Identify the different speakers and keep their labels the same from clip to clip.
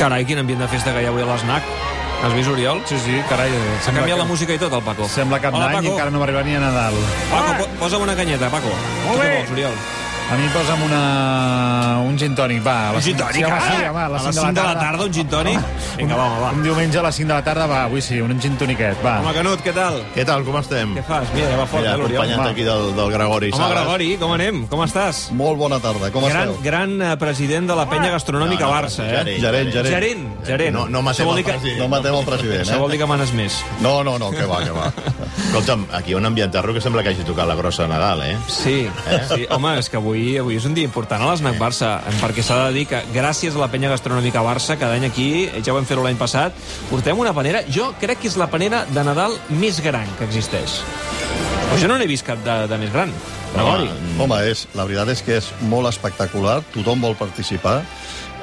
Speaker 1: Carai, quin ambient de festa que hi ha avui a l'SNAC. Has vist, Oriol?
Speaker 2: Sí, sí, carai. eh,
Speaker 1: Ha
Speaker 2: sembla
Speaker 1: canviat
Speaker 2: que-
Speaker 1: la música i tot, el Paco.
Speaker 2: Sembla cap
Speaker 1: Hola,
Speaker 2: d'any i
Speaker 1: Paco.
Speaker 2: encara no va arribar ni a Nadal.
Speaker 1: Paco, po- posa'm una canyeta, Paco.
Speaker 3: Molt
Speaker 1: Tu què
Speaker 3: bé.
Speaker 1: vols, Oriol?
Speaker 2: A mi posa'm una... un gin tònic, va. a les cinc- sí, home, sí, home,
Speaker 1: A les 5 de la tarda, un gin tònic? Vinga, va, home,
Speaker 2: Un
Speaker 1: va.
Speaker 2: diumenge a les 5 de la tarda, va, avui sí, un gin toniquet, va.
Speaker 1: Home, Canut, què tal?
Speaker 4: Què tal, com estem?
Speaker 1: Què fas? Mira, ja va fort,
Speaker 4: Mira,
Speaker 1: eh, l'Oriol?
Speaker 4: acompanyat
Speaker 2: home.
Speaker 4: aquí del, del Gregori.
Speaker 1: Home,
Speaker 4: Sales.
Speaker 1: Gregori, com anem? Com estàs?
Speaker 4: Molt bona tarda, com
Speaker 1: Gran,
Speaker 4: esteu?
Speaker 1: gran eh, president de la penya gastronòmica Barça, eh?
Speaker 4: Gerent, gerent. gerent.
Speaker 1: Gerent, gerent.
Speaker 4: No, no
Speaker 1: Això
Speaker 4: matem
Speaker 1: vol
Speaker 4: el
Speaker 1: dir que-
Speaker 4: president. No matem el president,
Speaker 1: Això vol dir
Speaker 4: eh?
Speaker 1: que manes més.
Speaker 4: No, no, no, que va, que va. Escolta'm, aquí hi ha un ambientarro que sembla que hagi tocat la grossa de Nadal, eh?
Speaker 1: Sí, sí, home, és que avui avui és un dia important a l'Snac Barça, eh, perquè s'ha de dir que gràcies a la penya gastronòmica Barça, cada any aquí, eh, ja ho vam fer l'any passat, portem una panera, jo crec que és la panera de Nadal més gran que existeix. Però jo no n'he vist cap de, de més gran. Gregori.
Speaker 5: Home, és, la veritat és que és molt espectacular, tothom vol participar,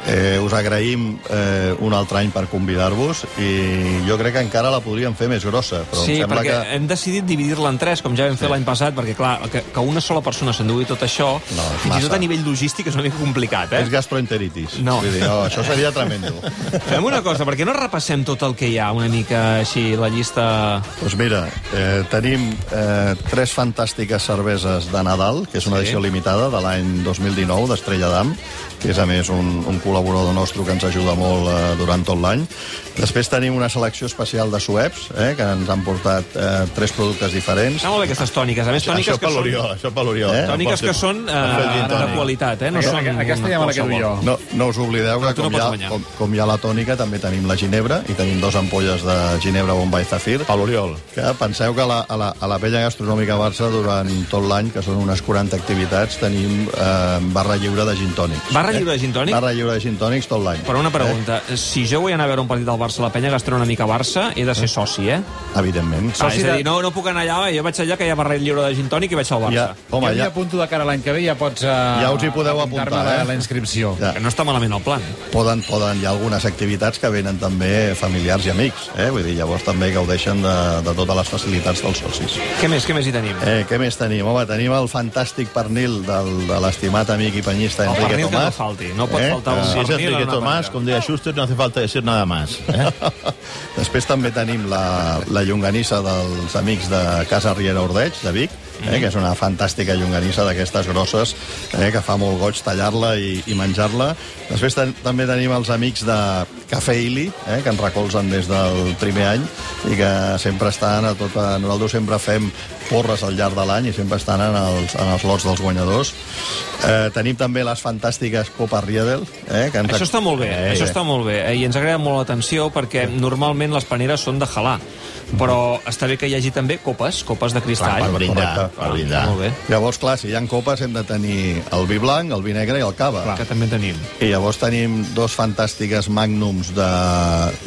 Speaker 5: eh, us agraïm eh, un altre any per convidar-vos i jo crec que encara la podríem fer més grossa, però
Speaker 1: Sí,
Speaker 5: em sembla
Speaker 1: perquè
Speaker 5: que...
Speaker 1: hem decidit dividir-la en tres, com ja vam fer l'any passat, perquè, clar, que, que una sola persona s'endugui tot això,
Speaker 5: No, és
Speaker 1: fins i tot
Speaker 5: massa.
Speaker 1: a nivell logístic és una mica complicat, eh?
Speaker 5: És gastroenteritis.
Speaker 1: No.
Speaker 5: Vull dir, no, això seria tremendo.
Speaker 1: Fem una cosa, perquè no repassem tot el que hi ha una mica així, la llista...
Speaker 5: doncs mira, eh, tenim eh, tres fantàstiques cerveses de Nadal, que és una
Speaker 1: Sí.
Speaker 5: edició limitada de l'any 2019 d'Estrella d'Am, que és a més un, un col·laborador nostre que ens ajuda molt eh, durant tot l'any. Després tenim una selecció especial de sueps, eh, que ens han portat eh, tres productes diferents.
Speaker 1: Està molt bé aquestes tòniques, a més tòniques
Speaker 4: això
Speaker 1: que
Speaker 4: per
Speaker 1: són...
Speaker 4: l'Oriol, això per l'Oriol.
Speaker 5: Eh?
Speaker 1: Tòniques que són eh, de qualitat, eh? No
Speaker 2: Aquesta-
Speaker 1: són
Speaker 2: aquesta ja me la quedo
Speaker 1: qualsevol.
Speaker 2: jo.
Speaker 5: No, no us oblideu que
Speaker 1: tu no
Speaker 5: com,
Speaker 1: pots
Speaker 5: hi
Speaker 1: guanyar.
Speaker 5: ha, com, com hi ha la tònica també tenim la ginebra i tenim dos ampolles de ginebra Bombay Zafir
Speaker 4: Per l'Oriol.
Speaker 5: que penseu que a la, a la, a la Vella Gastronòmica Barça durant tot l'any, que són unes 40 activitats, tenim eh, barra lliure de gintònics.
Speaker 1: Barra lliure de gin tònic?
Speaker 5: Barra lliure de gintònics tot l'any.
Speaker 1: Però una pregunta, si jo vull anar a veure un partit del Barça, la penya gastronòmica Barça, he de ser soci, eh?
Speaker 5: Evidentment.
Speaker 1: Ah, és a dir, no, no puc anar allà, eh, jo vaig allà que hi ha barret lliure de gin tònic i vaig al Barça.
Speaker 5: Ja, home,
Speaker 2: ja,
Speaker 5: ja,
Speaker 2: ja apunto de cara a l'any que ve, ja pots... Eh,
Speaker 5: Ja us hi podeu
Speaker 2: apuntar-me
Speaker 5: apuntar,
Speaker 2: a la-
Speaker 5: eh?
Speaker 2: la inscripció.
Speaker 5: Ja.
Speaker 1: Que no està malament el plan.
Speaker 5: poden, poden, hi ha algunes activitats que venen també familiars i amics, eh? vull dir, llavors també gaudeixen de, de totes les facilitats dels socis.
Speaker 1: Què més, què més hi tenim?
Speaker 5: Eh, què més tenim? Home, tenim el fantàstic pernil del, de l'estimat amic i penyista
Speaker 1: El
Speaker 5: Enrique
Speaker 1: pernil que no
Speaker 5: Tomàs. Eh? Ah.
Speaker 1: falti, no pot faltar el
Speaker 4: Si és
Speaker 1: pernil en
Speaker 4: Enrique
Speaker 1: una
Speaker 4: Tomás,
Speaker 1: paella.
Speaker 4: com deia Schuster, no hace falta decir nada más. Eh?
Speaker 5: Després també tenim la, la llonganissa dels amics de Casa Riera Ordeig, de Vic,
Speaker 1: Mm.
Speaker 5: eh, que és una fantàstica llonganissa d'aquestes grosses, eh, que fa molt goig tallar-la i, i menjar-la. Després ten, també tenim els amics de Cafè Ili, eh, que ens recolzen des del primer any i que sempre estan a tota... Nosaltres sempre fem porres al llarg de l'any i sempre estan en els, en els lots dels guanyadors. Eh, tenim també les fantàstiques Copa Riedel, eh, que ens...
Speaker 1: Això està molt bé, eh, això està molt bé. eh, I ens agrada molt l'atenció perquè normalment les paneres són de halà. Però està bé que hi hagi també copes, copes de cristall.
Speaker 4: Per brindar,
Speaker 5: correcte.
Speaker 4: per brindar.
Speaker 1: Molt bé,
Speaker 5: Llavors, clar, si hi ha copes hem de tenir el vi blanc, el vi negre i el cava.
Speaker 1: que també tenim.
Speaker 5: I llavors tenim dos fantàstiques magnums de,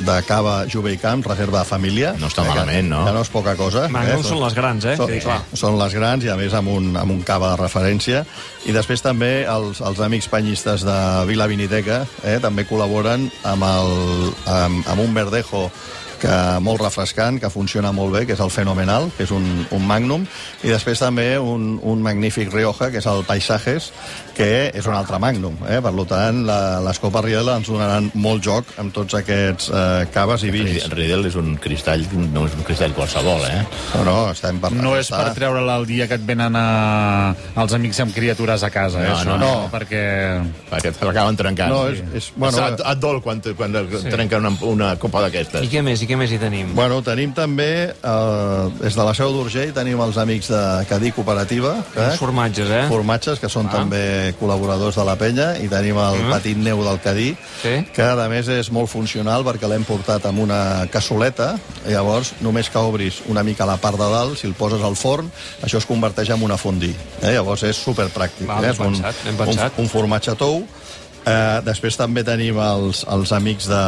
Speaker 5: de cava jove i camp, reserva de família.
Speaker 4: No està malament, no?
Speaker 5: Que no és poca cosa.
Speaker 1: Magnum són les grans, eh?
Speaker 5: Són,
Speaker 1: Que, clar.
Speaker 5: són les grans i, a més, amb un, amb un cava de referència. I després també els, els amics penyistes de Vila Viniteca eh, també col·laboren amb, el, amb, amb un verdejo que molt refrescant, que funciona molt bé, que és el Fenomenal, que és un, un Magnum, i després també un, un magnífic Rioja, que és el Paisajes, que és un altre Magnum. Eh? Per lo tant, la, les Copes Riela ens donaran molt joc amb tots aquests eh, caves i
Speaker 4: Ri-
Speaker 5: vins.
Speaker 4: Riedel és un cristall, no és un cristall qualsevol, eh?
Speaker 5: No, no, estem per...
Speaker 2: No és
Speaker 5: està-
Speaker 2: per treure-la el dia que et venen a... els amics amb criatures a casa, eh?
Speaker 4: No,
Speaker 2: això,
Speaker 4: no,
Speaker 5: no.
Speaker 2: Perquè...
Speaker 4: Perquè te l'acaben trencant.
Speaker 5: No, és- és- bueno,
Speaker 4: et, et dol quan, quan sí. trenquen una, una copa d'aquestes.
Speaker 1: I què més, i què més hi tenim?
Speaker 5: Bueno, tenim també, eh, des de la Seu d'Urgell, tenim els amics de Cadí Cooperativa, eh?
Speaker 1: Uns formatges, eh?
Speaker 5: formatges, que són també col·laboradors de la penya, i tenim el petit neu del Cadí,
Speaker 1: Mm. Sí.
Speaker 5: que a més és molt funcional perquè l'hem portat amb una cassoleta, i llavors només que obris una mica la part de dalt, si el poses al forn, això es converteix en una fondí. Eh? Llavors és superpràctic.
Speaker 1: Val,
Speaker 5: eh? És
Speaker 1: ben
Speaker 5: un,
Speaker 1: pensat, ben
Speaker 5: un,
Speaker 1: pensat.
Speaker 5: un formatge tou. Eh, després també tenim els, els amics de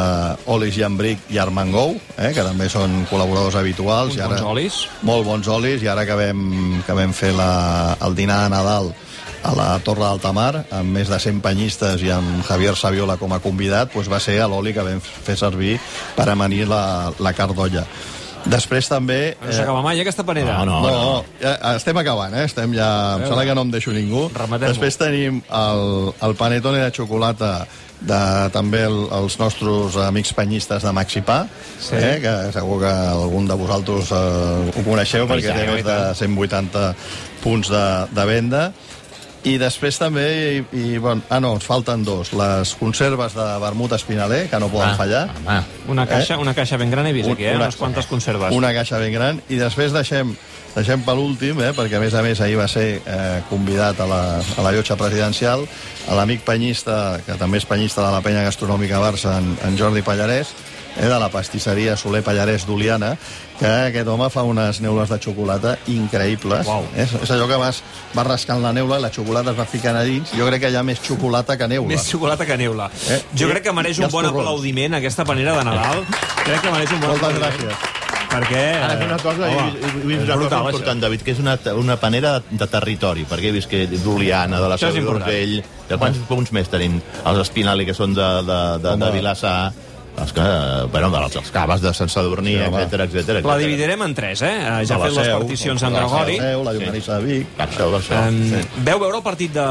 Speaker 5: Olis i Embric i Armengou, eh, que també són col·laboradors habituals.
Speaker 1: Uns
Speaker 5: i ara,
Speaker 1: bons olis.
Speaker 5: Molt bons olis, i ara que vam, que vam fer la, el dinar de Nadal a la Torre d'Altamar, amb més de 100 penyistes i amb Javier Saviola com a convidat, doncs va ser l'oli que vam fer servir per amanir la, la carn d'olla. Després també...
Speaker 1: No s'acaba mai, eh, aquesta panera.
Speaker 4: No, no.
Speaker 5: No, no, ja, estem acabant, eh? Estem ja... Em sembla que no em deixo ningú.
Speaker 1: Rematem-ho.
Speaker 5: Després tenim el, el panetone de xocolata de també el, els nostres amics penyistes de Maxi Pa,
Speaker 1: Sí.
Speaker 5: sí. eh, que segur que algun de vosaltres eh, ho coneixeu perquè
Speaker 1: tant,
Speaker 5: té
Speaker 1: i
Speaker 5: més de 180 punts de, de venda. I després també, i, i bon, ah no, ens falten dos, les conserves de vermut espinaler, que no
Speaker 4: Ah,
Speaker 5: poden fallar.
Speaker 4: Home,
Speaker 1: Una caixa, una caixa ben gran he vist
Speaker 5: Un-
Speaker 1: aquí, eh?
Speaker 5: una-
Speaker 1: Unes quantes conserves.
Speaker 5: Una caixa ben gran. I després deixem, deixem per últim, eh, perquè a més a més ahir va ser eh, convidat a la, a la llotja presidencial, a l'amic penyista, que també és penyista de la penya gastronòmica Barça, en, en Jordi Pallarès, eh, de la pastisseria Soler Pallarès d'Oliana, que aquest home fa unes neules de xocolata increïbles.
Speaker 1: Uau.
Speaker 5: És, és allò que vas, vas rascant la neula, la xocolata es va ficant a dins. Jo crec que hi ha més xocolata que neula.
Speaker 1: Més xocolata que neula.
Speaker 5: Eh?
Speaker 1: Jo
Speaker 5: I-
Speaker 1: crec que mereix
Speaker 5: i
Speaker 1: un
Speaker 5: els
Speaker 1: bon
Speaker 5: torrons.
Speaker 1: aplaudiment aquesta panera de Nadal. Crec que mereix un bon
Speaker 5: Moltes
Speaker 1: aplaudiment.
Speaker 5: gràcies.
Speaker 1: Perquè...
Speaker 4: Ara,
Speaker 1: eh,
Speaker 4: una cosa, i,
Speaker 1: home,
Speaker 4: i, i, i
Speaker 1: és
Speaker 4: una cosa
Speaker 1: brutal,
Speaker 4: important,
Speaker 1: això.
Speaker 4: David, que és una, una panera de, de territori, perquè he vist que d'Oliana, de la
Speaker 1: Això
Speaker 4: Seu
Speaker 1: és important.
Speaker 4: d'Urgell... De quants punts més tenim? Els Espinali, que són de, de, de, de
Speaker 5: Home.
Speaker 4: Vilassar, els que, bueno, dels, els caves de Sant Sadurní,
Speaker 5: Sí, home.
Speaker 4: etc etc.
Speaker 1: La dividirem en tres, eh? Eh, Ja ha
Speaker 4: A la
Speaker 1: fet les
Speaker 4: Seu,
Speaker 1: particions en
Speaker 4: a la Seu,
Speaker 1: Gregori.
Speaker 5: La Seu, la llonganissa de Vic...
Speaker 4: Això, això.
Speaker 1: Em, Veu veure el partit de,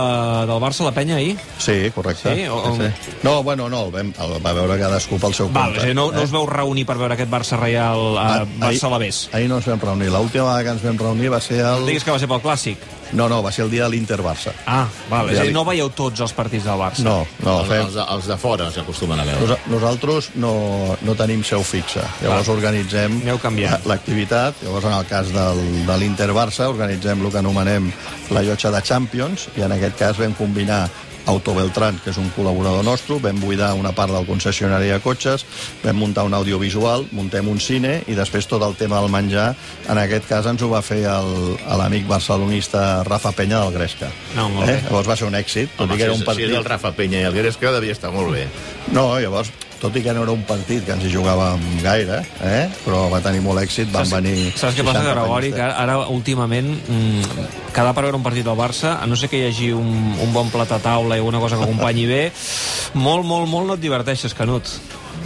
Speaker 1: del Barça a la penya ahir?
Speaker 5: Sí, correcte.
Speaker 1: Sí? O-
Speaker 5: Sí, sí. No, bueno, no, el, vam, el va veure cadascú pel seu
Speaker 1: Val, és a
Speaker 5: compte.
Speaker 1: dir, no,
Speaker 4: eh?
Speaker 1: no us veu reunir per veure aquest Barça Real a
Speaker 5: Ah, ahir-
Speaker 1: Barça a la Vés.
Speaker 5: Ahir no ens vam reunir. L'última vegada que ens vam reunir va ser el...
Speaker 1: Digues que va ser pel Clàssic.
Speaker 5: No, no, va ser el dia de l'Inter-Barça.
Speaker 1: Ah, val. És a
Speaker 5: Ja
Speaker 1: dir,
Speaker 5: dic-
Speaker 1: no veieu tots els partits del Barça.
Speaker 5: No, no,
Speaker 4: els,
Speaker 5: fem...
Speaker 4: els, els de fora s'acostumen a veure.
Speaker 5: Nosa- Nosaltres no, no tenim seu fixa. Llavors organitzem
Speaker 1: Aneu canviant.
Speaker 5: la- l'activitat. Llavors, en el cas del, de l'Inter-Barça, organitzem el que anomenem la llotja de Champions, i en aquest cas vam combinar Auto Beltrán, que és un col·laborador nostre, vam buidar una part del concessionari de cotxes, vam muntar un audiovisual, muntem un cine i després tot el tema del menjar, en aquest cas ens ho va fer el- a l'amic barcelonista Rafa Penya del Gresca. Eh?
Speaker 1: No, molt bé.
Speaker 5: Llavors va ser un èxit, tot
Speaker 4: Home,
Speaker 5: i que era un
Speaker 4: si, si
Speaker 5: partit...
Speaker 4: és el Rafa Penya i el Gresca, devia estar molt bé.
Speaker 5: No, llavors, tot i que no era un partit que ens hi jugàvem gaire, eh? però va tenir molt èxit, van
Speaker 1: Saps-
Speaker 5: venir...
Speaker 1: Saps què passa,
Speaker 5: 60
Speaker 1: Gregori?
Speaker 5: penyistes.
Speaker 1: Que ara, ara, últimament, mm, quedar per veure un partit del Barça, a no ser que hi hagi un, un bon plat a taula i alguna cosa que acompanyi bé, molt, molt, molt no et diverteixes, Canut.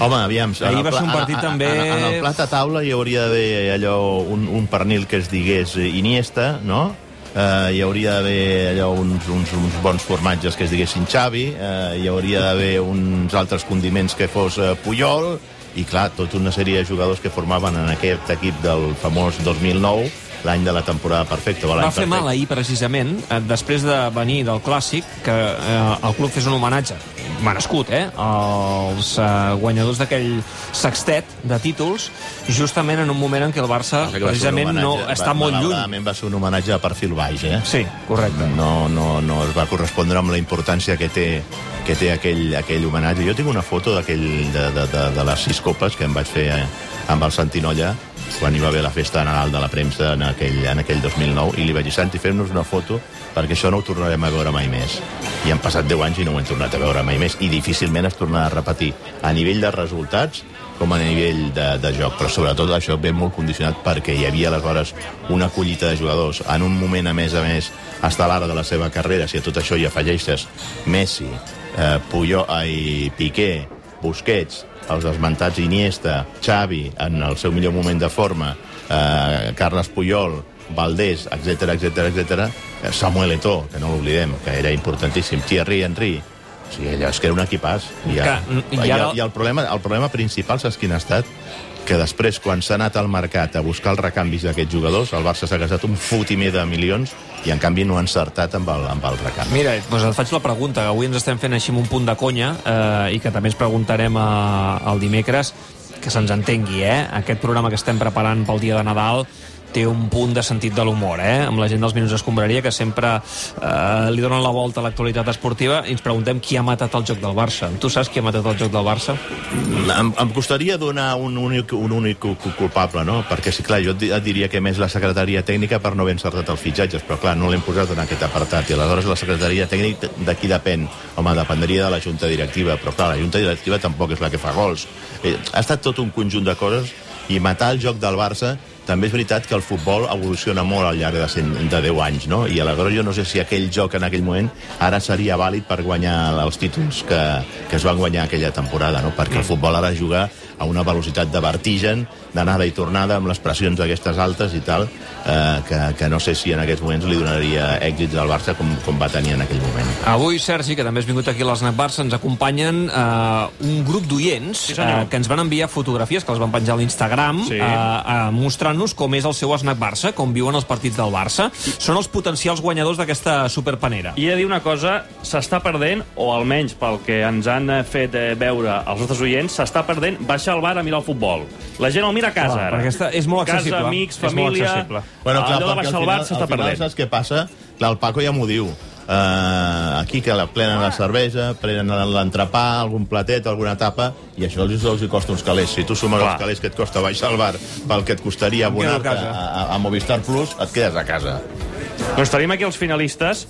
Speaker 4: Home, aviam... en
Speaker 1: Ahir
Speaker 4: el
Speaker 1: va
Speaker 4: pla-
Speaker 1: ser un
Speaker 4: en-
Speaker 1: partit
Speaker 4: en-
Speaker 1: també-
Speaker 4: En, en el plat a taula hi hauria d'haver allò, un, un pernil que es digués eh, Iniesta, no? Uh, hi hauria d'haver allò uns, uns, uns bons formatges que es diguessin Xavi, uh, hi hauria d'haver uns altres condiments que fos uh, Puyol, i clar, tota una sèrie de jugadors que formaven en aquest equip del famós 2009, l'any de la temporada perfecta. o l'any
Speaker 1: Va fer
Speaker 4: perfecte.
Speaker 1: mal ahir, precisament, eh, després de venir del Clàssic, que eh, el club fes un homenatge, merescut, eh?, als eh, guanyadors d'aquell sextet de títols, justament en un moment en què el Barça,
Speaker 4: Passa que va ser un
Speaker 1: precisament, no
Speaker 4: homenatge-
Speaker 1: està
Speaker 4: va-
Speaker 1: molt lluny.
Speaker 4: malauradament va ser un homenatge a perfil baix, eh?
Speaker 1: Sí, correcte.
Speaker 4: No, no, no es va correspondre amb la importància que té, que té aquell, aquell homenatge. Jo tinc una foto d'aquell de, de, de, de les sis copes que em vaig fer eh, amb el Santinolla quan hi va haver la festa de Nadal de la premsa en aquell, en aquell 2009 i li vaig dir, Santi, fem-nos una foto perquè això no ho tornarem a veure mai més. I han passat 10 anys i no ho hem tornat a veure mai més i difícilment es tornarà a repetir a nivell de resultats com a nivell de, de joc, però sobretot això ve molt condicionat perquè hi havia aleshores una collita de jugadors en un moment, a més a més, estel·lar de la seva carrera, si a tot això hi afegeixes Messi, eh, Puyol, ai, Piqué, Busquets, els desmentats Iniesta, Xavi, en el seu millor moment de forma, eh, Carles Puyol, Valdés, etc etc etc, eh, Samuel Eto'o, que no l'oblidem, que era importantíssim, Thierry Henry, o sigui, allò és que era un equipàs. I, ja,
Speaker 1: Que,
Speaker 4: i,
Speaker 1: mm, i
Speaker 4: ara...
Speaker 1: ara-
Speaker 4: i, el, problema, el problema principal, saps quin ha estat? Que després, quan s'ha anat al mercat a buscar els recanvis d'aquests jugadors, el Barça s'ha gastat un fotimer de milions i, en canvi, no ha encertat amb el, amb el recanvi.
Speaker 1: Mira, doncs et faig la pregunta, que avui ens estem fent així amb un punt de conya eh, i que també ens preguntarem a, el dimecres que se'ns entengui, eh? Aquest programa que estem preparant pel dia de Nadal té un punt de sentit de l'humor, eh? Amb la gent dels Minuts Escombraria, que sempre eh, li donen la volta a l'actualitat esportiva i ens preguntem qui ha matat el joc del Barça. Tu saps qui ha matat el joc del Barça?
Speaker 4: Em, em costaria donar un únic, un únic cu- cu- culpable, no? Perquè, sí, clar, jo et di- et diria que més la secretaria tècnica per no haver encertat els fitxatges, però, clar, no l'hem posat en aquest apartat. I, aleshores, la secretaria tècnica de qui depèn? Home, dependria de la junta directiva, però, clar, la junta directiva tampoc és la que fa gols. Eh, ha estat tot un conjunt de coses i matar el joc del Barça també és veritat que el futbol evoluciona molt al llarg de, 100, de 10 anys, no? I aleshores jo no sé si aquell joc en aquell moment ara seria vàlid per guanyar els títols que, que es van guanyar aquella temporada, no? Perquè el futbol ara es juga a una velocitat de vertigen, d'anada i tornada, amb les pressions aquestes altes i tal, eh, que, que no sé si en aquests moments li donaria èxits al Barça com, com va tenir en aquell moment.
Speaker 1: Avui, Sergi, que també has vingut aquí a l'Snac Barça, ens acompanyen eh, un grup d'oients eh,
Speaker 2: senyor.
Speaker 1: que ens van enviar fotografies, que les van penjar a l'Instagram,
Speaker 2: Sí.
Speaker 1: eh, eh, mostrant-nos com és el seu Snac Barça, com viuen els partits del Barça. Són els potencials guanyadors d'aquesta superpanera.
Speaker 3: I he de dir una cosa, s'està perdent, o almenys pel que ens han eh, fet eh, veure els nostres oients, s'està perdent baixar al bar a mirar el futbol. La gent el mira a casa,
Speaker 1: Clar,
Speaker 3: ara.
Speaker 1: perquè està- és molt accessible.
Speaker 3: Casa, amics,
Speaker 1: És molt
Speaker 3: família...
Speaker 1: accessible.
Speaker 4: Bueno, clar,
Speaker 3: allò de
Speaker 4: perquè
Speaker 3: baixar
Speaker 4: al
Speaker 3: al bar
Speaker 4: final,
Speaker 3: s'està
Speaker 4: al final
Speaker 3: perdent.
Speaker 4: saps què passa? Clar, el Paco ja m'ho diu. Uh, aquí que la plenen la cervesa, plenen l'entrepà, algun platet, alguna tapa, i això els, els hi costa uns calés. Si tu sumes
Speaker 3: Clar.
Speaker 4: els calés que et costa baixar al bar pel que et costaria
Speaker 1: quedo a
Speaker 4: abonar-te
Speaker 1: casa.
Speaker 4: a, a, a Movistar Plus, et quedes a casa.
Speaker 3: Doncs tenim aquí els finalistes,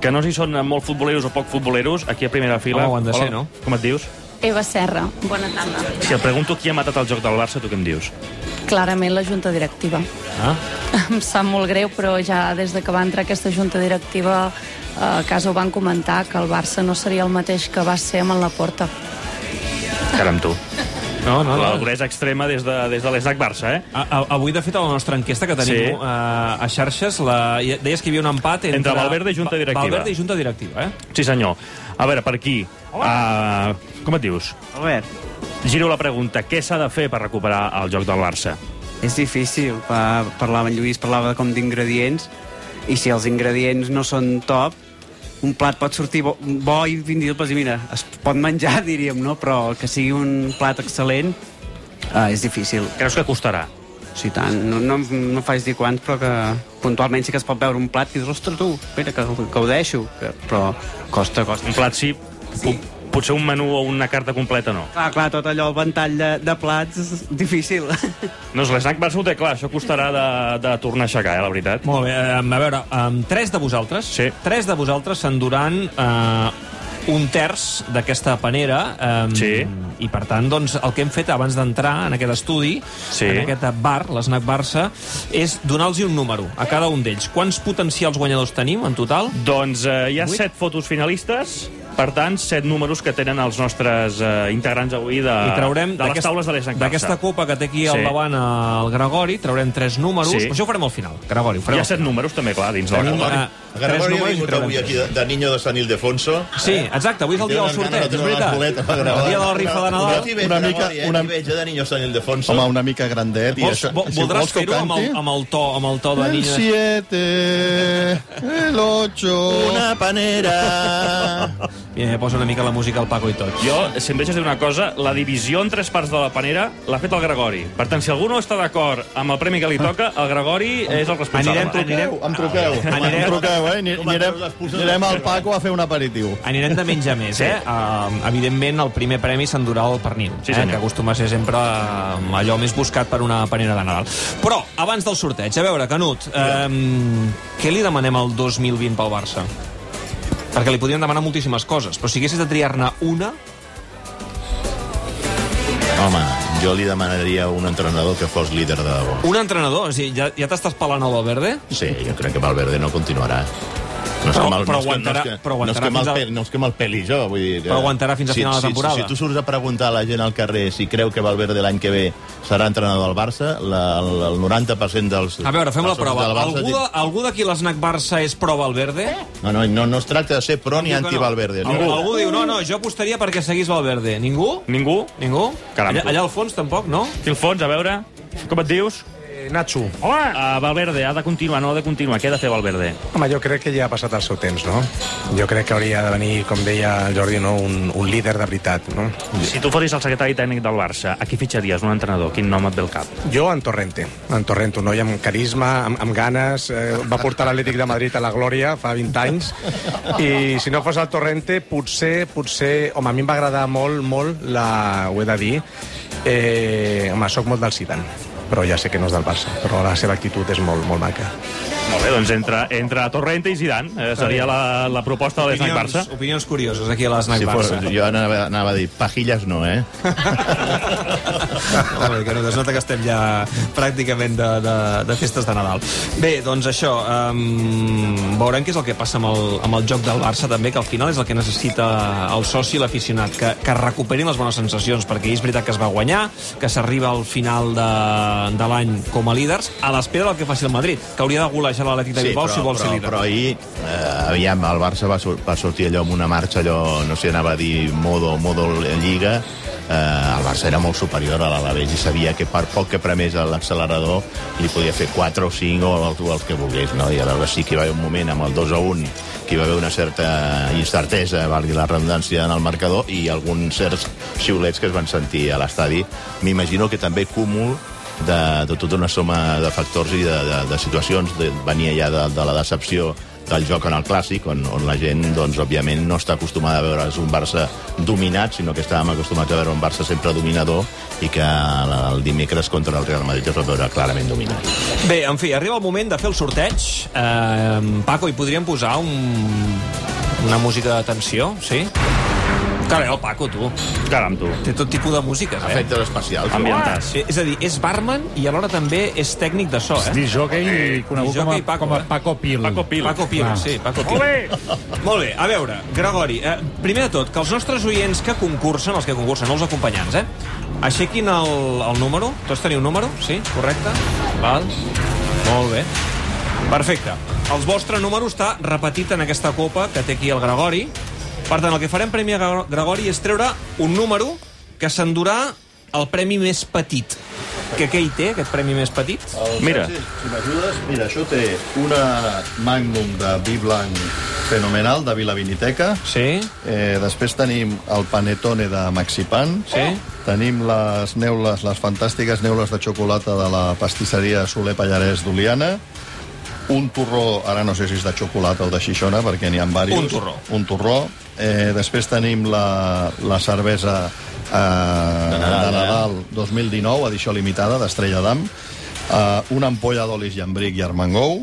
Speaker 3: que no sé si són molt futboleros o poc futboleros, aquí a primera fila.
Speaker 1: Home, ho han de ser,
Speaker 3: Hola,
Speaker 1: no?
Speaker 3: Com et dius?
Speaker 6: Eva Serra, bona tarda.
Speaker 3: Si et pregunto qui ha matat el joc del Barça, tu què em dius?
Speaker 6: Clarament la junta directiva.
Speaker 1: Ah.
Speaker 6: Em sap molt greu, però ja des de que va entrar aquesta junta directiva eh, a casa ho van comentar, que el Barça no seria el mateix que va ser amb el Laporta.
Speaker 3: Caram, tu.
Speaker 1: No, Ah, no,
Speaker 3: La
Speaker 1: no.
Speaker 3: duresa extrema des de, des de l'ESNAC Barça, eh?
Speaker 1: A, a, avui, de fet, a la nostra enquesta que tenim
Speaker 3: Sí.
Speaker 1: eh, a xarxes, la, ja- deies que hi havia un empat entre...
Speaker 3: Entre Valverde i Junta
Speaker 1: Va-
Speaker 3: Directiva.
Speaker 1: Valverde i Junta Directiva, eh?
Speaker 3: Sí, senyor. A veure, per aquí. Uh, com et dius?
Speaker 7: Albert,
Speaker 3: Giro la pregunta. Què s'ha de fer per recuperar el joc del Barça?
Speaker 7: és difícil. Pa- Parlava en Lluís, parlava com d'ingredients, i si els ingredients no són top, un plat pot sortir bo, bo i fins i tot, pues, mira, es pot menjar, diríem, no? Però que sigui un plat excel·lent eh, és difícil.
Speaker 3: Creus que costarà?
Speaker 7: Sí, tant. No, no, no faig dir quants, però que puntualment sí que es pot veure un plat i dius, ostres, tu, espera, que, que ho deixo. Que, però costa, costa.
Speaker 3: Un plat sí, sí. potser un menú o una carta completa no.
Speaker 7: Clar, clar, tot allò, el ventall de, de plats, és difícil.
Speaker 3: No, és l'esnac Barça ho té clar, això costarà de, de tornar a aixecar, eh, la veritat.
Speaker 1: Molt bé, eh, a veure, um, tres de vosaltres,
Speaker 3: Sí.
Speaker 1: tres de vosaltres s'enduran eh, un terç d'aquesta panera eh,
Speaker 3: Sí.
Speaker 1: i per tant doncs, el que hem fet abans d'entrar en aquest estudi
Speaker 3: Sí.
Speaker 1: en aquest bar, l'Snac Barça és donar-los un número a cada un d'ells quants potencials guanyadors tenim en total?
Speaker 3: Doncs eh, hi ha
Speaker 1: Vuit.
Speaker 3: set fotos finalistes, per tant, set números que tenen els nostres eh, integrants avui de,
Speaker 1: I traurem
Speaker 3: de les
Speaker 1: d'aquest-
Speaker 3: taules de l'Esnac
Speaker 1: d'aquesta
Speaker 3: Barça.
Speaker 1: copa que té aquí al
Speaker 3: Sí.
Speaker 1: davant eh, el Gregori, traurem tres números
Speaker 3: Sí.
Speaker 1: però això ho farem al final, Gregori, ho
Speaker 3: Hi
Speaker 1: farem
Speaker 3: ha
Speaker 1: al
Speaker 3: set números també, clar, dins de la
Speaker 1: Tenim-
Speaker 3: copa.
Speaker 1: Ah, tres
Speaker 4: Gregori ha
Speaker 1: números i
Speaker 4: vingut
Speaker 1: traurem
Speaker 4: avui
Speaker 1: tres.
Speaker 4: aquí de, de Niño de San Ildefonso.
Speaker 1: Sí, exacte, avui és el dia del sorteig, és veritat. El dia de la rifa de
Speaker 4: Una,
Speaker 1: Nadal.
Speaker 4: una, una, mica... Una mica de Niño San Ildefonso.
Speaker 5: Home, una mica grandet.
Speaker 1: Vols,
Speaker 5: i això,
Speaker 1: vo- voldràs fer-ho amb, el- amb, el to, amb el to de
Speaker 5: El
Speaker 1: Nina?
Speaker 5: 7, el 8...
Speaker 4: Una panera.
Speaker 1: Mira, ja posa una mica la música al Paco i tot.
Speaker 3: Jo, si em deixes dir una cosa, la divisió en tres parts de la panera l'ha fet el Gregori. Per tant, si algú no està d'acord amb el premi que li toca, el Gregori és el responsable.
Speaker 1: Anirem- anirem-
Speaker 5: Em truqueu,
Speaker 1: Ah, Anirem-
Speaker 5: em truqueu, eh? Ni-
Speaker 4: Com
Speaker 5: Anirem,
Speaker 4: em treus les puces
Speaker 5: anirem
Speaker 4: del
Speaker 5: al Paco a fer un aperitiu.
Speaker 1: Anirem de menys a més, sí. eh? Uh, evidentment, el primer premi s'endurà el pernil,
Speaker 3: Sí,
Speaker 1: eh?
Speaker 3: senyor.
Speaker 1: que acostuma a ser sempre eh, allò més buscat per una panera de Nadal. Però, abans del sorteig, a veure, Canut, eh, què li demanem al 2020 pel Barça? Perquè li podríem demanar moltíssimes coses, però si haguessis de triar-ne una...
Speaker 4: Home, jo li demanaria a un entrenador que fos líder de debò.
Speaker 1: Un entrenador, o sigui, ja, ja t'estàs pelant a Valverde?
Speaker 4: Sí, jo crec que Valverde no continuarà. No és
Speaker 1: Però-
Speaker 4: que mal-
Speaker 1: però
Speaker 4: no és que-
Speaker 1: aguantarà-
Speaker 4: no és que-
Speaker 1: però
Speaker 4: no és
Speaker 1: aguantarà
Speaker 4: que mal
Speaker 1: fins al-
Speaker 4: pel- No és que me'l peli jo, vull dir...
Speaker 1: Però
Speaker 4: eh,
Speaker 1: aguantarà fins a
Speaker 4: si-
Speaker 1: final de
Speaker 4: si-
Speaker 1: temporada.
Speaker 4: Si, tu surts a preguntar a la gent al carrer si creu que Valverde l'any que ve serà entrenador del Barça, la, el, el 90% dels...
Speaker 1: A veure, fem la
Speaker 4: dels
Speaker 1: prova.
Speaker 4: del Barça
Speaker 1: Algú,
Speaker 4: diu-
Speaker 1: de, algú d'aquí a l'Snac Barça és pro Valverde?
Speaker 4: No, no, no, no es tracta de ser pro ni anti-Valverde.
Speaker 1: Algú, algú diu, no, no, jo apostaria perquè seguís Valverde. Ningú?
Speaker 3: Ningú?
Speaker 1: Ningú?
Speaker 3: Caram,
Speaker 1: allà,
Speaker 3: tu.
Speaker 1: allà al fons tampoc, no?
Speaker 3: Aquí al fons, a veure, com et dius?
Speaker 8: Eh, Nacho,
Speaker 3: Hola! Uh, Valverde, ha de continuar, no ha de continuar. Què ha de fer Valverde?
Speaker 8: home, jo crec que ja ha passat el seu temps, no? Jo crec que hauria de venir, com deia el Jordi, no? un, un líder de veritat, no?
Speaker 3: Si tu fossis el secretari tècnic del Barça, a qui fitxaries? Un entrenador? Quin nom et ve al cap?
Speaker 8: Jo en Torrente, en Torrente, un noi amb carisma, amb, amb ganes, eh, va portar l'Atlètic de Madrid a la glòria fa 20 anys, i si no fos el Torrente, potser, potser, home, a mi em va agradar molt, molt, la, ho he de dir, eh, home, soc molt del Zidane. però ja sé que no és del Barça, però la seva actitud és molt, molt maca.
Speaker 3: Molt bé, doncs entre, entre Torrente i Zidane eh, seria la, la proposta de l'Snac Barça.
Speaker 1: Opinions, opinions curioses aquí a l'Snac
Speaker 4: Si fos,
Speaker 1: Barça.
Speaker 4: jo anava, anava a dir, pajillas no, eh?
Speaker 1: Molt bé, que no, es nota que estem ja pràcticament de, de, de festes de Nadal. Bé, doncs això, um, veurem què és el que passa amb el, amb el joc del Barça també, que al final és el que necessita el soci i l'aficionat, que, que recuperin les bones sensacions, perquè és veritat que es va guanyar, que s'arriba al final de, de l'any com a líders, a l'espera del que faci el Madrid, que hauria de golejar l'Atlètic de Bilbao si vol
Speaker 4: però,
Speaker 1: ser líder.
Speaker 4: però ahir, eh, aviam, el Barça va, sur va sortir allò amb una marxa, allò, no sé, anava a dir modo, modo lliga, eh, el Barça era molt superior a l'Alavés i sabia que per poc que premés a l'accelerador li podia fer 4 o 5 o el, o el que volgués, no? I aleshores sí que hi va haver un moment amb el 2 a 1 que hi va haver una certa incertesa, valgui la redundància, en el marcador i alguns certs xiulets que es van sentir a l'estadi. M'imagino que també cúmul de, de tota una soma de factors i de, de, de situacions. De, venia ja de, de la decepció del joc en el clàssic, on, on la gent, doncs, òbviament, no està acostumada a veure un Barça dominat, sinó que estàvem acostumats a veure un Barça sempre dominador i que la- el dimecres contra el Real Madrid es va veure clarament dominat. eh?
Speaker 1: Bé, en fi, arriba el moment de fer el sorteig. Eh, Paco, hi podríem posar un... una música de tensió, sí? Carai, el Paco, tu.
Speaker 3: Caram, tu.
Speaker 1: Té tot tipus de músiques, eh?
Speaker 4: Efectes especials.
Speaker 3: Ambientat.
Speaker 1: Sí, és a dir, és barman i alhora també és tècnic de so, eh?
Speaker 2: Disjockey, conegut com a,
Speaker 1: discjockey Paco,
Speaker 2: com a
Speaker 1: eh?
Speaker 2: Paco Pil.
Speaker 3: Paco Pil.
Speaker 1: Paco Pil,
Speaker 2: Ah.
Speaker 1: sí, Paco Pil. Molt bé, a veure, Gregori, eh, primer de tot, que els nostres oients que concursen, els que concursen, no els acompanyants, eh, aixequin el, el número. Tots teniu número? Sí, correcte? Val. Molt bé. Perfecte. El vostre número està repetit en aquesta copa que té aquí el Gregori. Per tant, el que farem Premi Gre- Gregori és treure un número que s'endurà el premi més petit. Que què hi té, aquest premi més petit?
Speaker 3: Mira.
Speaker 5: Sí, si m'ajudes, mira, això té una magnum de vi blanc fenomenal, de Vila Viniteca.
Speaker 1: Sí?
Speaker 5: Eh, després tenim el panetone de Maxipan.
Speaker 1: Sí.
Speaker 5: Tenim les neules, les fantàstiques neules de xocolata de la pastisseria Soler Pallarès d'Oliana. Un torró, ara no sé si és de xocolata o de xixona, perquè n'hi ha diversos.
Speaker 1: Un torró.
Speaker 5: Un torró. Eh, després tenim la, la cervesa eh, de, Nadal, de Nadal 2019, edició limitada, d'Estrella d'Am. Eh, una ampolla d'olis llambric i armengou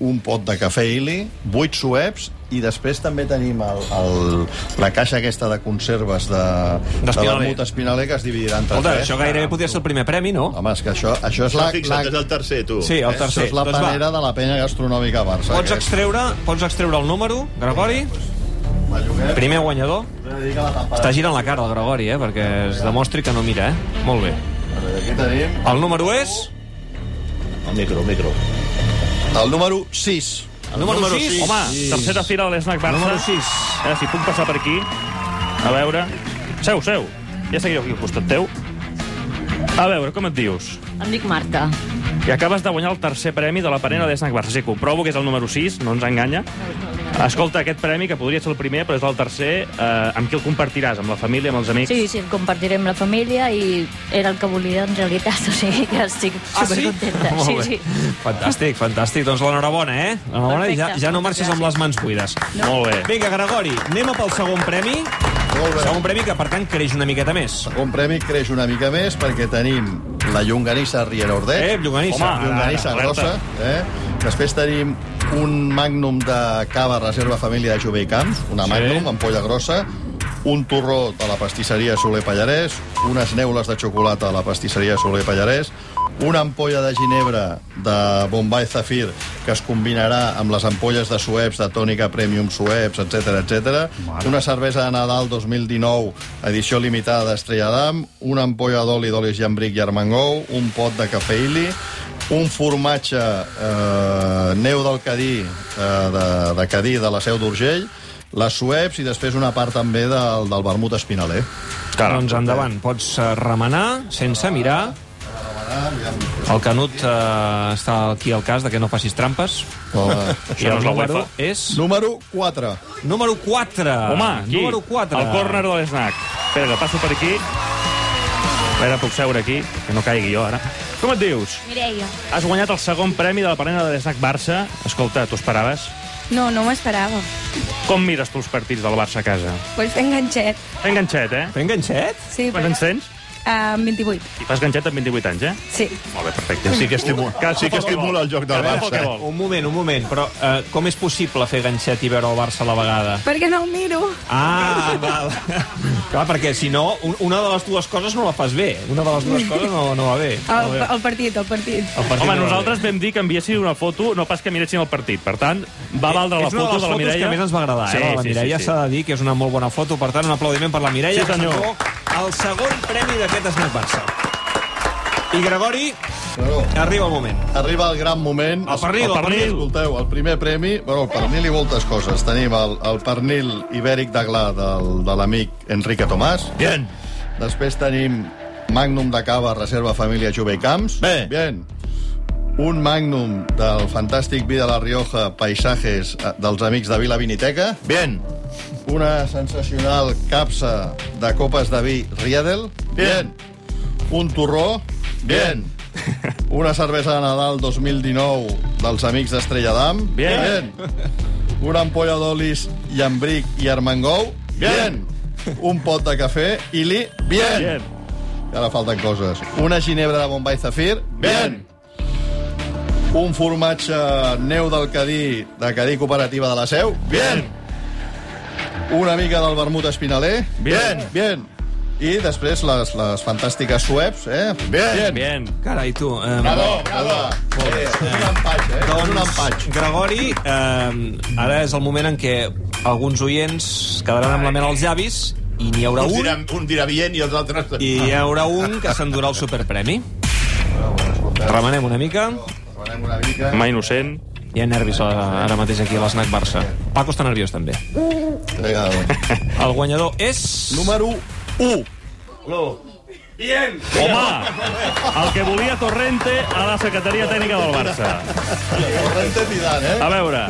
Speaker 5: un pot de cafè ili, 8 sueps i després també tenim el, el, la caixa aquesta de conserves de, de
Speaker 1: D'espinaler.
Speaker 5: vermut espinaler que es dividirà entre
Speaker 1: Escolta,
Speaker 5: tres. eh?
Speaker 1: això gairebé podria ser el primer premi, no?
Speaker 5: Home, és que això, això és la, la,
Speaker 4: Fixa't, és el tercer, tu.
Speaker 1: Sí, el
Speaker 5: això
Speaker 1: tercer.
Speaker 5: és la
Speaker 1: Doncs va,
Speaker 5: panera de la penya gastronòmica a Barça.
Speaker 1: Pots
Speaker 5: que és-
Speaker 1: extreure, pots extreure el número, Gregori?
Speaker 5: Belluguer,
Speaker 1: Primer guanyador.
Speaker 5: una mica la
Speaker 1: Està
Speaker 5: temperatura.
Speaker 1: girant la cara, el Gregori, eh? Perquè es demostri que no mira, eh? Molt bé.
Speaker 5: Aquí tenim
Speaker 1: El número és...
Speaker 4: El micro, el micro.
Speaker 5: el número 6.
Speaker 1: El número, número 6.
Speaker 3: Home, tercera fila de l'Snac Barça.
Speaker 1: Número sis.
Speaker 3: Eh, si puc passar per aquí. A veure... Seu, seu. Ja seguireu aquí al costat teu. A veure, com et dius?
Speaker 9: Em dic Marta.
Speaker 3: I acabes de guanyar el tercer premi de la panera de Snack Barça. Sí, comprovo que és el número 6, no ens enganya. Escolta, aquest premi, que podria ser el primer, però és el tercer, eh, amb qui el compartiràs? Amb la família, amb els amics?
Speaker 9: Sí, sí, el compartiré amb la família i era el que volia en realitat, o sigui que estic supercontenta.
Speaker 1: Ah, Molt bé.
Speaker 9: sí, sí.
Speaker 1: Fantàstic, fantàstic. Doncs l'enhorabona, eh? L'enhorabona i ja,
Speaker 9: Perfecte.
Speaker 1: ja no marxis amb les mans buides.
Speaker 3: Molt bé.
Speaker 1: Vinga, Gregori, anem a pel segon premi.
Speaker 5: Molt bé.
Speaker 1: Segon premi que, per tant, creix una miqueta més.
Speaker 5: Un premi creix una mica més perquè tenim la llonganissa Riera Ordet.
Speaker 1: Eh, llonganissa.
Speaker 3: Home.
Speaker 5: Llonganissa
Speaker 3: Ara, ara,
Speaker 5: grossa, eh? Després tenim un magnum de cava reserva família de Jove i Camps, una magnum, ampolla grossa, un torró de la pastisseria Soler Pallarès, unes neules de xocolata de la pastisseria Soler Pallarès, una ampolla de ginebra de Bombay Zafir que es combinarà amb les ampolles de sueps, de tònica premium sueps, etc etc. una cervesa de Nadal 2019, edició limitada d'Estrella d'Am, una ampolla d'oli d'olis llambric i armengou, un pot de cafè ili, un formatge eh, neu del Cadí, eh, de, de Cadí, de la Seu d'Urgell, les sueps i després una part també del, del vermut espinaler.
Speaker 1: Doncs endavant, pots eh, remenar sense mirar. El Canut eh, està aquí al cas de que no facis trampes.
Speaker 5: Hola.
Speaker 1: I el
Speaker 3: no és la
Speaker 1: número
Speaker 3: UEFA.
Speaker 1: és...
Speaker 5: eh, Número 4.
Speaker 1: Número 4.
Speaker 3: Home, aquí,
Speaker 1: Número 4.
Speaker 3: el córner de l'Snack. Espera, que passo per aquí. Espera, puc seure aquí, que no caigui jo ara. Com et dius?
Speaker 10: Mireia.
Speaker 3: Has guanyat el segon premi de la panera de l'Snack Barça. Escolta, t'ho esperaves?
Speaker 10: No, no m'esperava.
Speaker 3: Com mires tu els partits del Barça a casa?
Speaker 10: Vull fer enganxet.
Speaker 3: Enganxet, eh?
Speaker 1: Té enganxet?
Speaker 10: Sí,
Speaker 3: Quants
Speaker 10: però...
Speaker 3: anys tens?
Speaker 10: eh, amb 28.
Speaker 3: I fas ganxet amb 28 anys, eh?
Speaker 10: Sí.
Speaker 3: Molt bé, perfecte.
Speaker 4: Sí que estimula, sí que estimula el joc del
Speaker 3: Cada pel que
Speaker 4: Barça.
Speaker 3: vol.
Speaker 1: Un moment, un moment, però eh, com és possible fer ganxet i veure el Barça a la vegada?
Speaker 10: Perquè no el miro.
Speaker 1: Ah, val. Clar, perquè si no, un- una de les dues coses no la fas bé. Una de les dues coses no, no va bé. No
Speaker 10: El,
Speaker 1: va bé.
Speaker 10: el partit, el partit.
Speaker 1: El partit
Speaker 3: Home,
Speaker 1: no va
Speaker 3: nosaltres
Speaker 1: bé.
Speaker 3: vam dir que enviessin una foto, no pas que miressin el partit. Per tant, va valdre la
Speaker 1: és una de les
Speaker 3: foto de la
Speaker 1: fotos
Speaker 3: Mireia.
Speaker 1: que més ens va agradar, eh? la de La Mireia s'ha de dir que és una molt bona foto, per tant, un aplaudiment per la Mireia,
Speaker 3: Sí,
Speaker 1: que
Speaker 3: senyor.
Speaker 1: s'endú el segon premi d'aquest Snack Barça. I Gregori, arriba el moment.
Speaker 5: Arriba el gran moment.
Speaker 1: El pernil, el pernil.
Speaker 5: Escolteu, el primer premi... Bueno, el pernil i moltes coses. Tenim el, el pernil ibèric d'aglà del, de l'amic Enrique Tomàs.
Speaker 4: Bien.
Speaker 5: Després tenim Magnum de Cava, Reserva Família Jove i Camps.
Speaker 4: Bé.
Speaker 5: Bien. Un Magnum del fantàstic Vi de la Rioja, Paisajes, eh, dels amics de Vila Viniteca.
Speaker 4: Bien.
Speaker 5: Una sensacional capsa de copes de vi Riedel.
Speaker 4: Bien.
Speaker 5: Un torró.
Speaker 4: Bien.
Speaker 5: Una cervesa de Nadal 2019 dels amics d'Estrella d'Am.
Speaker 3: Bien.
Speaker 5: Una ampolla d'olis Llambric i Armengou.
Speaker 4: Bien.
Speaker 5: Un pot de cafè Ili. Bien.
Speaker 3: Bien.
Speaker 5: I ara falten coses. Una ginebra de Bombay Zafir.
Speaker 4: Bien.
Speaker 5: Un formatge neu del Cadí, de Cadí Cooperativa de la Seu.
Speaker 4: Bien.
Speaker 5: Una mica del vermut espinaler.
Speaker 4: Bien.
Speaker 5: Bien. I després les, les fantàstiques sueps, eh?
Speaker 4: Bien.
Speaker 3: Bien.
Speaker 1: Carai, tu... Eh,
Speaker 5: Bravo, bravo. Molt bé. És un empatx, eh?
Speaker 1: Doncs
Speaker 5: És un empatx.
Speaker 1: Gregori, eh, ara és el moment en què alguns oients quedaran amb la mena als llavis i n'hi haurà
Speaker 4: Un
Speaker 1: un,
Speaker 4: dirà, un dirà bien i els altres...
Speaker 1: i hi haurà un que s'endurà el superpremi. Remenem una mica.
Speaker 5: Preparem una mica.
Speaker 3: Mà innocent.
Speaker 1: Hi ha nervis ara ara mateix aquí a l'esnac Barça. Paco està nerviós, també.
Speaker 5: Vinga, va.
Speaker 1: El guanyador és...
Speaker 5: Número 1.
Speaker 3: Home, el que volia Torrente a la secretaria tècnica del Barça.
Speaker 5: Corrente Zidane, eh?
Speaker 3: A veure...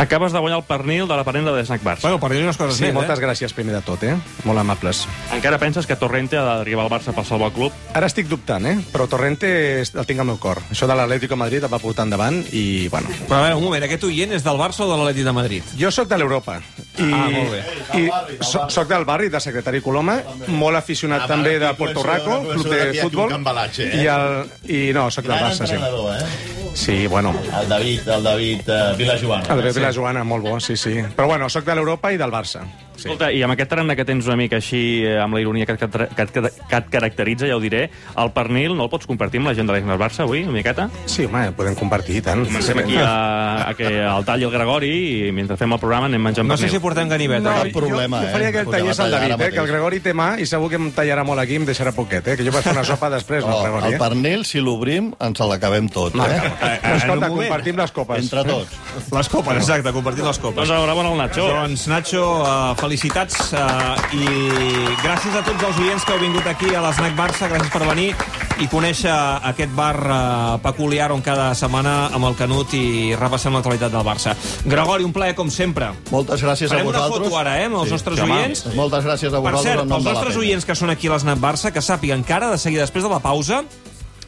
Speaker 3: Acabes de guanyar el pernil de la panera de Snack Barça.
Speaker 1: Bueno, per dir unes coses
Speaker 8: Sí,
Speaker 1: més,
Speaker 8: moltes
Speaker 1: eh?
Speaker 8: gràcies primer de tot, eh? Molt amables.
Speaker 3: Encara penses que Torrente ha d'arribar al Barça per salvar el club?
Speaker 8: Ara estic dubtant, eh? Però Torrente es- el tinc al meu cor. Això de l'Atlético de Madrid el va portar endavant i, bueno...
Speaker 1: Però a veure, un moment, aquest oient és del Barça o de l'Atleti de Madrid?
Speaker 8: Jo sóc de l'Europa. I,
Speaker 1: Ah, molt bé.
Speaker 8: I so- sóc del barri, de secretari Coloma, molt aficionat
Speaker 4: Ah,
Speaker 8: també
Speaker 4: va,
Speaker 8: de
Speaker 4: aquí
Speaker 8: Porto
Speaker 4: començo-
Speaker 8: Raco,
Speaker 4: començo
Speaker 8: club de
Speaker 4: aquí, aquí un
Speaker 8: futbol.
Speaker 4: cambalatge, eh?
Speaker 8: I, el, I no, sóc del
Speaker 4: Gran
Speaker 8: Barça, sí.
Speaker 4: entrenador, eh?
Speaker 8: Sí, bueno,
Speaker 4: El David, el David uh, Vilajoana.
Speaker 8: el de la Joana, molt bo, sí, sí. Però bueno, sóc de l'Europa i del Barça.
Speaker 3: Sí. Escolta, i amb aquest tarannà que tens una mica així, eh, amb la ironia que, et catra- que, et- que, et- que et caracteritza, ja ho diré, el pernil no el pots compartir amb la gent de l'Eixner Barça avui, una miqueta?
Speaker 8: Sí, home, podem compartir, i tant.
Speaker 3: Comencem aquí a, a que el tall i el Gregori i mentre fem el programa anem menjant
Speaker 1: No sé
Speaker 3: pernil.
Speaker 1: si portem ganiveta.
Speaker 8: No,
Speaker 1: No,
Speaker 5: Cap problema,
Speaker 8: jo, jo faria
Speaker 5: eh?
Speaker 8: que el
Speaker 5: Podem
Speaker 8: tallés el
Speaker 5: tallar ara
Speaker 8: David, eh?
Speaker 5: mateix.
Speaker 8: que el Gregori té mà i segur que em tallarà molt aquí i em deixarà poquet, eh? que jo vaig fer una sopa després, no,
Speaker 5: Oh,
Speaker 8: el Gregori.
Speaker 5: el
Speaker 8: Eh?
Speaker 5: pernil, si l'obrim, ens l'acabem tot,
Speaker 8: No,
Speaker 5: eh?
Speaker 8: no. Escolta, compartim les copes.
Speaker 5: Entre tots.
Speaker 1: Les copes, exacte, compartir les copes.
Speaker 3: Doncs enhorabona al Nacho.
Speaker 1: Doncs, Nacho, uh, felicitats uh, i gràcies a tots els oients que heu vingut aquí a l'Snac Barça, gràcies per venir i conèixer aquest bar uh, peculiar on cada setmana amb el Canut i repassem l'actualitat del Barça. Gregori, un plaer com sempre.
Speaker 5: Moltes gràcies
Speaker 1: Farem
Speaker 5: a
Speaker 1: una
Speaker 5: vosaltres.
Speaker 1: foto ara, eh, amb els nostres
Speaker 5: home.
Speaker 1: oients.
Speaker 5: Moltes gràcies a
Speaker 1: Per
Speaker 5: vosaltres
Speaker 1: cert,
Speaker 5: en nom
Speaker 1: pels
Speaker 5: de la
Speaker 1: nostres
Speaker 5: penya.
Speaker 1: oients que són aquí a l'Snap Barça, que sàpiguen que ara, de seguida, després de la pausa,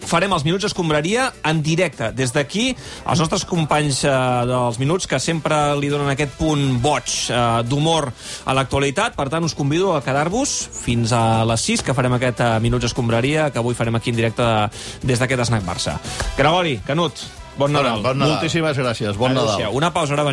Speaker 1: farem els Minuts Escombraria en directe. Des d'aquí, els nostres companys eh, dels Minuts, que sempre li donen aquest punt boig eh, d'humor a l'actualitat. Per tant, us convido a quedar-vos fins a les 6, que farem aquest eh, Minuts Escombraria, que avui farem aquí en directe des d'aquest Snack Barça. Gregori, Canut, bon Nadal.
Speaker 5: Moltíssimes gràcies. Bon Nadal.
Speaker 1: Adéu-siau. Una pausa, ara venim.